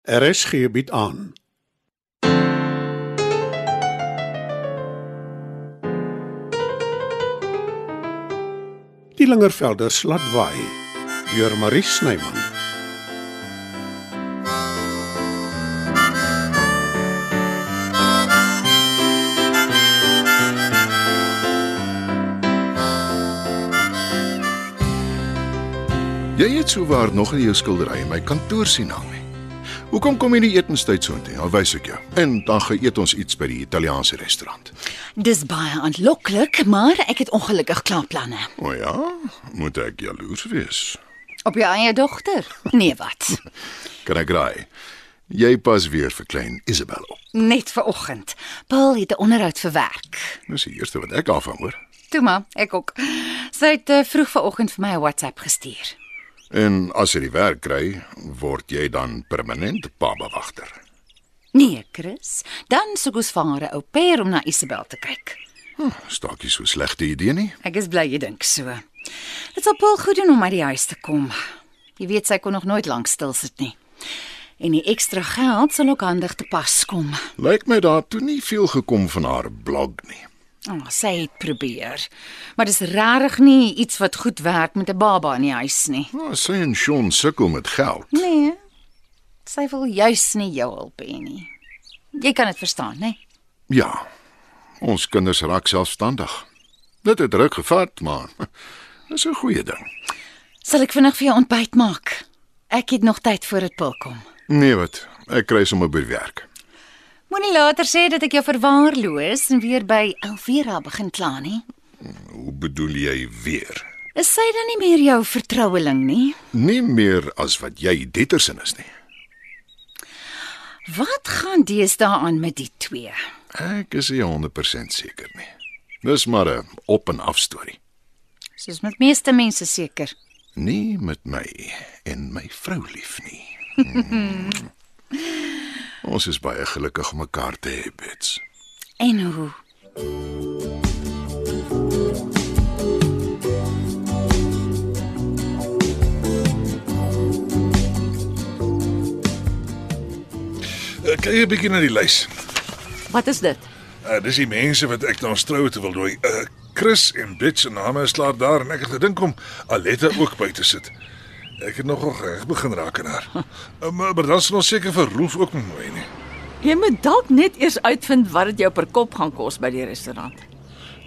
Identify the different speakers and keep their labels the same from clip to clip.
Speaker 1: Er is gebied aan. Die Lingervelder slat waai deur Marie Snyman.
Speaker 2: Jy het souwaar nog nie jou skildery in my kantoor sien hang nie. Hoekom kom jy nie etenstyd soontoe? Al wys ek jou. En dan gaan eet ons iets by die Italiaanse restaurant.
Speaker 3: Dis baie aanloklik, maar ek het ongelukkig klaar planne.
Speaker 2: O ja, moet ek jaloers wees?
Speaker 3: Op jou eie dogter? Nee, wat?
Speaker 2: Kan ek raai? Jy pas weer vir klein Isabel op.
Speaker 3: Net vir oggend. Paul het 'n onderhoud vir werk.
Speaker 2: Dis die eerste wat ek daarvan hoor.
Speaker 3: Toe maar, ek ook. Sy het eh, vroeg vanoggend vir my 'n WhatsApp gestuur.
Speaker 2: En as jy die werk kry, word jy dan permanent babawagter.
Speaker 3: Nee, Chris, dan soek ons vir haar 'n ou pair om na Isabel te kyk.
Speaker 2: Hm, Staak jy so slegte idee nie?
Speaker 3: Ek is bly jy dink so. Dit sal Paul goed doen om uit die huis te kom. Jy weet sy kon nog nooit lank stil sit nie. En die ekstra geld sal ook handig te pas kom.
Speaker 2: Lyk my daar toe nie veel gekom van haar blog nie.
Speaker 3: Oh, sy het probeer. Maar dis regtig nie iets wat goed werk met 'n baba in die huis nie.
Speaker 2: Nou, sy en Sean sukkel met geld.
Speaker 3: Nee. Sy wil juis nie jou hulp hê nie. Jy kan dit verstaan, né?
Speaker 2: Ja. Ons kinders raak selfstandig. Dit het druk gevat, maar dis 'n goeie ding.
Speaker 3: Sal ek vinnig vir jou ontbyt maak? Ek het nog tyd voor dit pil kom.
Speaker 2: Nee wat, ek kry sommer by die werk.
Speaker 3: Moenie later sê dat ek jou verwaarloos en weer by Elvira begin kla nie.
Speaker 2: Hoe bedoel jy weer?
Speaker 3: Is sy dan nie meer jou vertroueling nie?
Speaker 2: Nie meer as wat jy Dietersin is nie.
Speaker 3: Wat gaan deesdae aan met die twee?
Speaker 2: Ek is nie 100% seker nie. Dis maar 'n op en af storie.
Speaker 3: Soos met meeste mense seker.
Speaker 2: Nie met my en my vrou lief nie. Mm. ons is baie gelukkig om mekaar te hê, Bets.
Speaker 3: En hoe?
Speaker 4: Ek Eh, kyk 'n bietjie na die lys.
Speaker 5: Wat is dit?
Speaker 4: Uh, dis die mense wat ek na ons troue toe wil nooi. Uh, Chris en Bets se name is klaar daar en ek het gedink om Aletta ook by te sit. Ek het nogal reg begin raak aan haar. Uh, maar, maar dan sal ons seker vir Rolf ook moet nooi nie.
Speaker 5: Jy moet dalk net eers uitvind wat dit jou per kop gaan kos by die restaurant.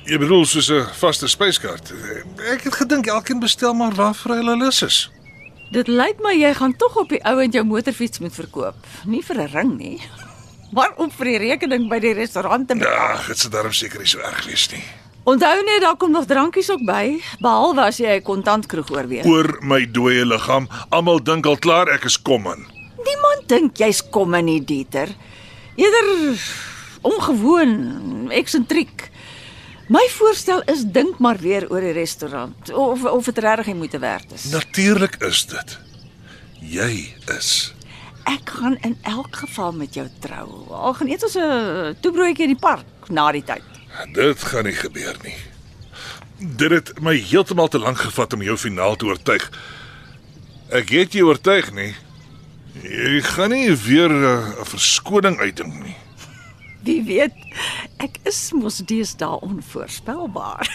Speaker 4: Jy bedoel soos 'n vaste spyskaart. Eh, Ek het gedink elkeen bestel maar waarvoor hulle lus is.
Speaker 5: Dit lyk my jy gaan tog op die ou end jou motorfiets moet verkoop, nie vir 'n ring nie, maar om vir die rekening by die restaurant te betaal.
Speaker 4: Ja, dit sou daarom seker nie so erg wees nie.
Speaker 5: Onthou net daar kom nog drankies ook by, behalwe as jy 'n kontantkroeg oorweeg.
Speaker 4: Oor my dooie liggaam, almal dink al klaar ek is kom aan.
Speaker 5: Niemand dink jy's kom in nie, Dieter. Eerder ongewoon, eksentriek. My voorstel is dink maar weer oor die restaurant of of dit regtig nie moeite werd
Speaker 2: Nou,
Speaker 5: is.
Speaker 4: Natuurlik is dit. Jy is
Speaker 5: Ek gaan in elk geval met jou trou. Al gaan eet ons 'n toebroodjie in die park na die tyd.
Speaker 4: Dit gaan nie gebeur nie. Dit het my heeltemal te lank gevat om jou finaal te oortuig. Ek het jou oortuig nie. Jy gaan nie weer eh, 'n verskoning uitdink nie.
Speaker 5: Wie weet, ek is mos deesdae onvoorspelbaar.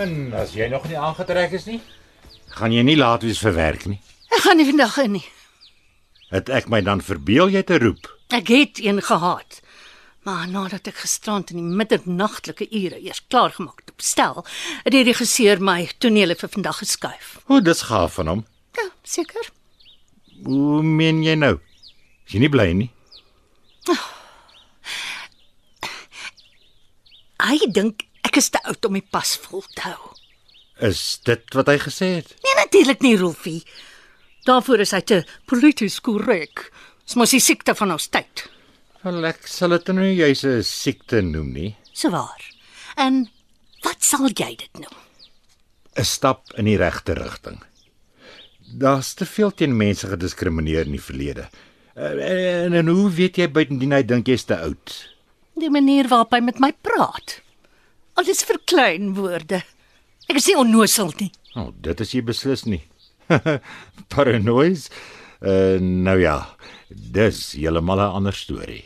Speaker 6: En as jy nog nie aangetrek is nie, gaan jy nie laat wees vir werk nie.
Speaker 7: Ek gaan nie vandag in nie.
Speaker 6: Het ek my dan verbeel jy te roep?
Speaker 7: Ek het een gehad. Maar nadat ek gisterand in die middernagtelike ure eers klaargemaak het om stel, het die regisseur my tonele vir vandag geskuif.
Speaker 6: O, dis gaaf van hom.
Speaker 7: Ja, seker.
Speaker 6: Hoe meen jy nou? Is jy nie bly nie?
Speaker 7: Hy dink ek is te oud om die pas vol te hou.
Speaker 6: Is dit wat hy gesê het?
Speaker 7: Nee, natuurlik nie, Rolfie. Daarvoor is hy te polities korrek. Dis mos die siekte van ons tyd.
Speaker 6: Wel, ek sal dit nou nie juis 'n siekte noem nie.
Speaker 7: So waar. En wat sal jy dit noem?
Speaker 6: 'n Stap in die regte rigting. Daar's te veel teen mense gediskrimineer in die verlede. Eh, En, en hoe weet jy buitendien hy dink jy's te oud?
Speaker 8: Die manier waarop hy met my praat. Alles verklein woorde. Ek is nie onnosel nie.
Speaker 6: Nou, oh, dit is jy beslis nie. Paranoïes. Uh, nou ja, dis heeltemal 'n ander storie.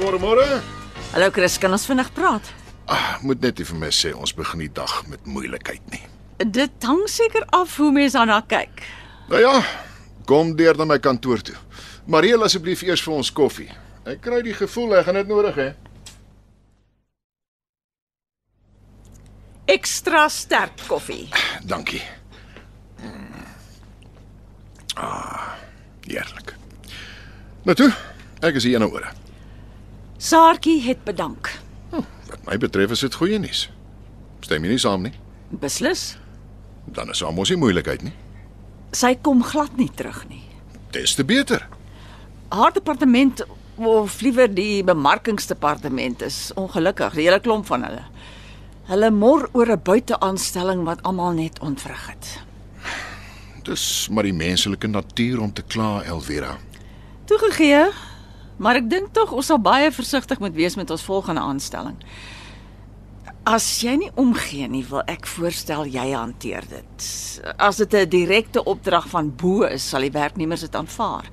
Speaker 9: Môre môre.
Speaker 5: Hallo Chris, kan ons vinnig praat?
Speaker 9: Ah, moet net nie vir my sê ons begin die dag met moeilikheid nie.
Speaker 5: Dit hang seker af hoe mens daarna kyk.
Speaker 9: Nou ja, kom deur na my kantoor toe. Mariel asseblief eers vir ons koffie. Ek kry die gevoel ek gaan dit nodig hê.
Speaker 5: Ekstra sterk koffie.
Speaker 9: Dankie. Ah, Ah, heerlik. Nou toe, ek is hier nou oor.
Speaker 5: Saartjie het bedank.
Speaker 9: Wat my betref is dit goeie nuus. Stem jy nie saam nie?
Speaker 5: Beslis.
Speaker 9: Dan is daar mos nie moeilikheid nie.
Speaker 5: Sy kom glad nie terug nie.
Speaker 9: Dis te beter.
Speaker 5: Haar departement of liewer die bemarkingsdepartement is ongelukkig, die hele klomp van hulle. Hulle mor oor 'n buiteaanstelling wat almal net ontwrig het.
Speaker 9: Dis maar die menslike natuur om te kla, Elvira.
Speaker 5: Toegegee, maar ek dink tog ons sal baie versigtig moet wees met ons volgende aanstelling. As jy nie omgee nie, wil ek voorstel jy hanteer dit. As dit 'n direkte opdrag van bo is, sal die werknemers dit aanvaar.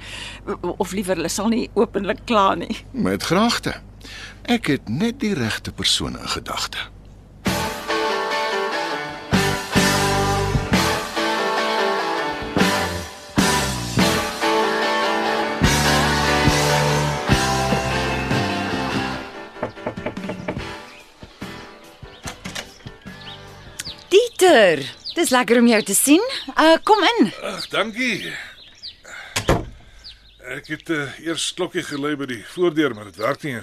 Speaker 5: Of liewer, hulle sal nie openlik kla nie.
Speaker 9: Met graagte. Ek het net die regte persoon in gedagte.
Speaker 3: Dieter, dis lekker om jou te sien. Uh kom in.
Speaker 2: Ag, dankie. Ek het uh, eers klokkie gelui by die voordeur, maar dit werk nie.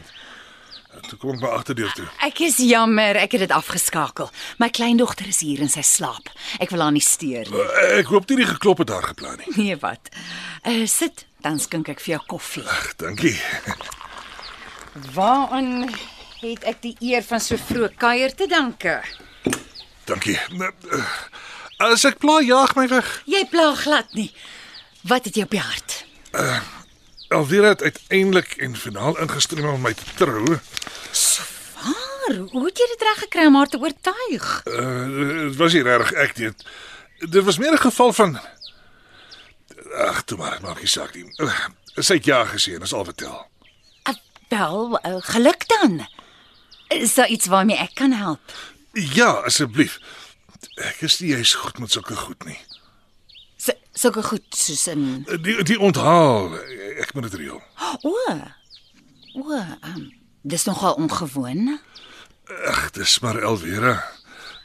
Speaker 2: En Toe kom ek my agterdeur toe.
Speaker 3: Ek is jammer, ek het dit afgeskakel. My kleindogter is hier in sy slaap. Ek wil haar nie steur nie.
Speaker 2: Uh, Ek hoop nie die geklop het daar geplan nie.
Speaker 3: Nee, wat? Uh sit, dan skink ek vir jou koffie.
Speaker 2: Ag, dankie.
Speaker 3: Waaraan het ek die eer van so vroeg kuier te danke?
Speaker 2: Dankie. Nou, uh, As ek pla, jaag my weg.
Speaker 3: Jy pla glad nie. Wat het jy op die hart?
Speaker 2: Alvira het uiteindelik en finaal ingestem om my te trou.
Speaker 3: Waar? Hoe het jy dit reg gekry om haar te oortuig?
Speaker 2: Uh, Dit was nie regtig ek dit. Dit was meer 'n geval van Ag, toe maar, het maak nie saak nie. Uh, Sy het ja gesê, dis al wat tel.
Speaker 3: Uh, wel, uh, geluk dan. Is daar iets waarmee ek kan help?
Speaker 2: Ja, asseblief. Ek is nie jy's goed met sulke goed nie.
Speaker 3: S- Sulke goed soos in
Speaker 2: Die die onthaal, ek moet dit reël.
Speaker 3: o. O, um, dis nogal ongewoon.
Speaker 2: Ag, dis maar Elvira.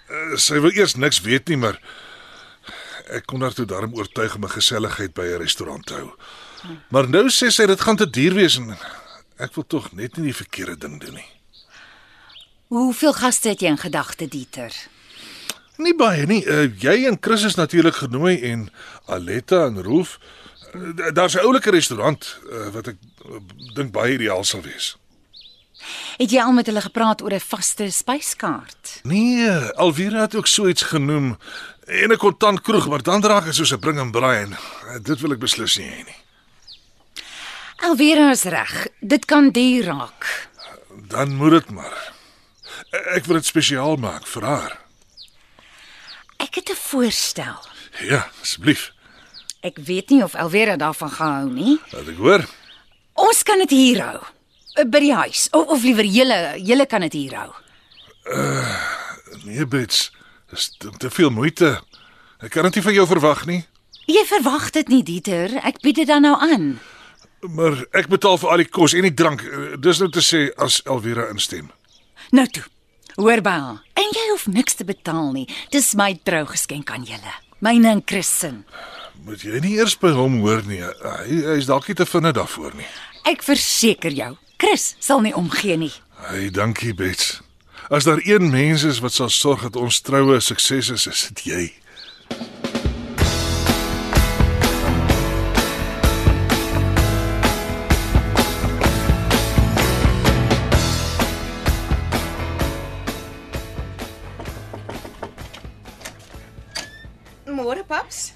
Speaker 2: Uh, Sy wil eers niks weet nie, maar ek kon haar toe daarom oortuig om 'n geselligheid by 'n restaurant te hou. Maar nou sê sy dit gaan te duur wees en ek wil tog net nie die verkeerde ding doen nie.
Speaker 3: Hoeveel gaste het jy in gedagte, Dieter?
Speaker 2: Nie baie nie. Uh, jy en Chris is natuurlik genooi en Aletta en Rolf. Uh, Daar's 'n oulike restaurant uh, wat ek uh, dink baie ideaal sal wees.
Speaker 3: Het jy al met hulle gepraat oor 'n vaste spyskaart?
Speaker 2: Nee, Alvira het ook so iets genoem en 'n kontant kroeg, maar dan draak dit soos 'n bring en braai en eh, dit wil ek beslis nie hê nie.
Speaker 3: Alvera is reg. Dit kan duur raak.
Speaker 2: Dan moet dit maar. Eh, Ek wil dit spesiaal maak vir haar.
Speaker 3: Ek het 'n voorstel.
Speaker 2: Ja, asseblief.
Speaker 3: Ek weet nie of Alvera daarvan gaan hou nie.
Speaker 2: Laat ek hoor.
Speaker 3: Ons kan dit hier hou. Uh, By die huis. Of, of liewer julle, julle kan dit hier hou.
Speaker 2: Nee, Bets, dis te- te veel moeite. Ek kan dit nie van jou verwag nie,
Speaker 3: Jy verwag dit nie, Dieter. Ek bied dit dan nou aan.
Speaker 2: maar ek betaal vir al die kos en die drank. Eh, Dis nou te sê as Alvira instem.
Speaker 3: Nou toe. Hoor by haar. En jy hoef niks te betaal nie. Dis my trougeskenk aan julle. Myne en Christin.
Speaker 2: Moet jy nie eers by hom hoor nie. Hy hy is dalk nie te vinnig daarvoor nie.
Speaker 3: Ek verseker jou, Chris sal nie omgee nie.
Speaker 2: Hey, dankie Bets. As daar een mens is wat sal sorg dat ons troue 'n sukses is, is dit jy.
Speaker 7: Paps.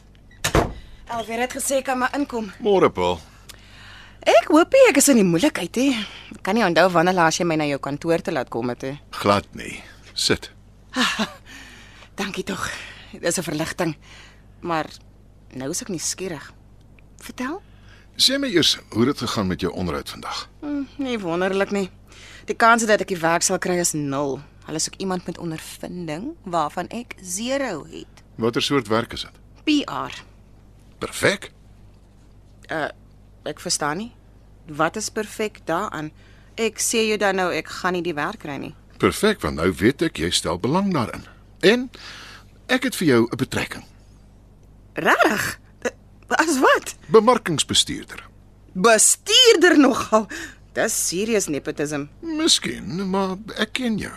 Speaker 7: Alweer het gesê kan maar inkom.
Speaker 9: Môre, Paul.
Speaker 7: Ek hoop nie ek is in die moeilikheid hè. Ek kan nie onthou wanneer laas jy my na jou kantoor te laat kom het hè.
Speaker 9: Glad nie. Sit.
Speaker 7: Dankie tog. Dis 'n verligting. Maar nou is ek nuuskierig. Vertel?
Speaker 9: Sê my eers, hoe het dit gegaan met jou onderhoud vandag?
Speaker 7: Hm, nee, wonderlik nie. Die kans dat ek die werk sal kry is nul. Hulle soek iemand met ondervinding waarvan ek 0 het.
Speaker 9: Watter soort werk is dit?
Speaker 7: PR.
Speaker 9: Perfek.
Speaker 7: Ek verstaan nie. Wat is perfek daaraan? Ek sê jou dan nou ek gaan nie die werk kry nie.
Speaker 9: Perfek, want nou weet ek jy stel belang daarin. En ek het vir jou 'n betrekking.
Speaker 7: Regtig? Eh, As wat?
Speaker 9: Bemarkingsbestuurder.
Speaker 7: Bestuurder nogal. Dis serious nepotism.
Speaker 9: Miskien, maar ek ken jou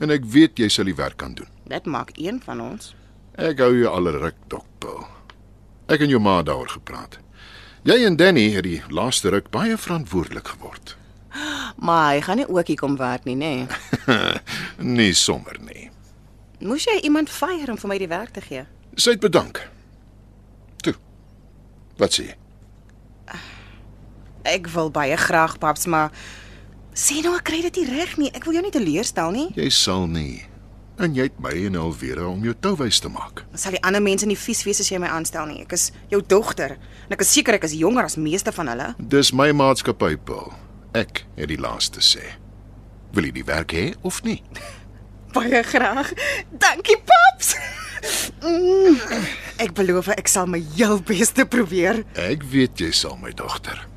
Speaker 9: en ek weet jy sal die werk kan doen.
Speaker 7: Dit maak een van ons.
Speaker 9: Ek hou jou al 'n ruk dop, Paul. Ek en jou ma het daaroor gepraat. Jy en Danny het die laaste ruk baie verantwoordelik geword.
Speaker 7: Maar hy gaan nie ook hier kom werk nie, nê? Nee.
Speaker 9: Nee sommer nie.
Speaker 7: Moes jy iemand fire om vir my die werk te gee?
Speaker 9: Sy het bedank. Toe. Wat sê jy?
Speaker 7: Ek wil baie graag, paps, maar sê nou ek kry dit nie reg nie. Ek wil jou nie teleurstel nie.
Speaker 9: Jy sal nie. En jy het my en Alvera om jou touwys te maak.
Speaker 7: Sal die ander mense nie vies wees as jy my aanstel nie. Ek is jou dogter en ek is seker ek is jonger as meeste van hulle.
Speaker 9: Dis my maatskappy, Paul. Ek het die laaste sê. Wil jy die werk hê of nie?
Speaker 7: Baie graag. Dankie, paps. Mm, Ek beloof ek sal my heel bes te probeer.
Speaker 9: Ek weet jy sal my dogter.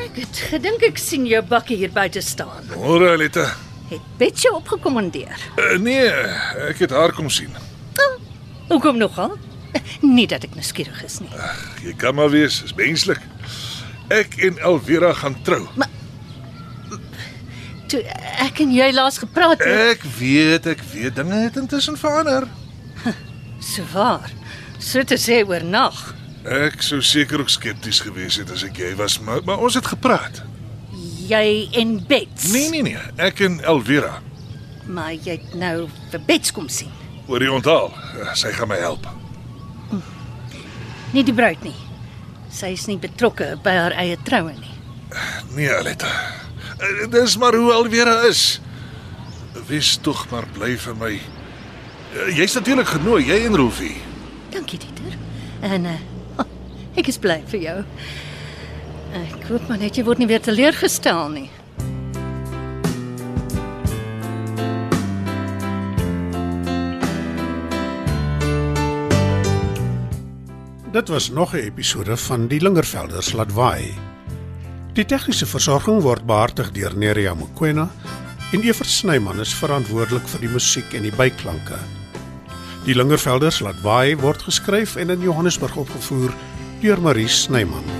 Speaker 8: Ek het gedink ek sien jou bakkie hier buite staan.
Speaker 2: Môre, Aletta.
Speaker 8: Het Betsy opgekommandeer.
Speaker 2: Uh, nee, ek het haar kom sien.
Speaker 8: Hoekom nogal? Nie dat ek nuuskierig is nie.
Speaker 2: Jy kan maar wees, is menslik. Ek en Alvera gaan trou.
Speaker 8: eh, Toe ek en jy laas gepraat het,
Speaker 2: Ek weet, ek weet dinge het intussen verander.
Speaker 8: so waar. So te sê oornag.
Speaker 2: Ek sou seker ook skepties gewees het as ek jy was, maar, maar ons het gepraat.
Speaker 8: Jy en Bets.
Speaker 2: Nee, nee, nee, ek en Alvera
Speaker 8: Maar jy het nou vir Bets kom sien.
Speaker 2: oor die onthaal. Eh, Sy gaan my help.
Speaker 8: Nie die bruid nie. Sy is nie betrokke by haar eie troue nie.
Speaker 2: Nee, Aletta. Eh, Dis maar hoe Alvera is. Wees tog maar bly vir my. Eh, Jy's natuurlik genooi, jy en Rolfie.
Speaker 8: Dankie Dieter. En uh, oh, ek is bly vir jou. Ek hoop maar net jy word nie weer teleurgestel nie.
Speaker 1: Dit was nog 'n episode van Die Lingervelders laat waai. Die tegniese versorging word behartig deur Neriya Mkwena en Evert Snyman is verantwoordelik vir die musiek en die byklanke. Die Lingervelders laat waai word geskryf en in Johannesburg opgevoer deur Marie Snyman.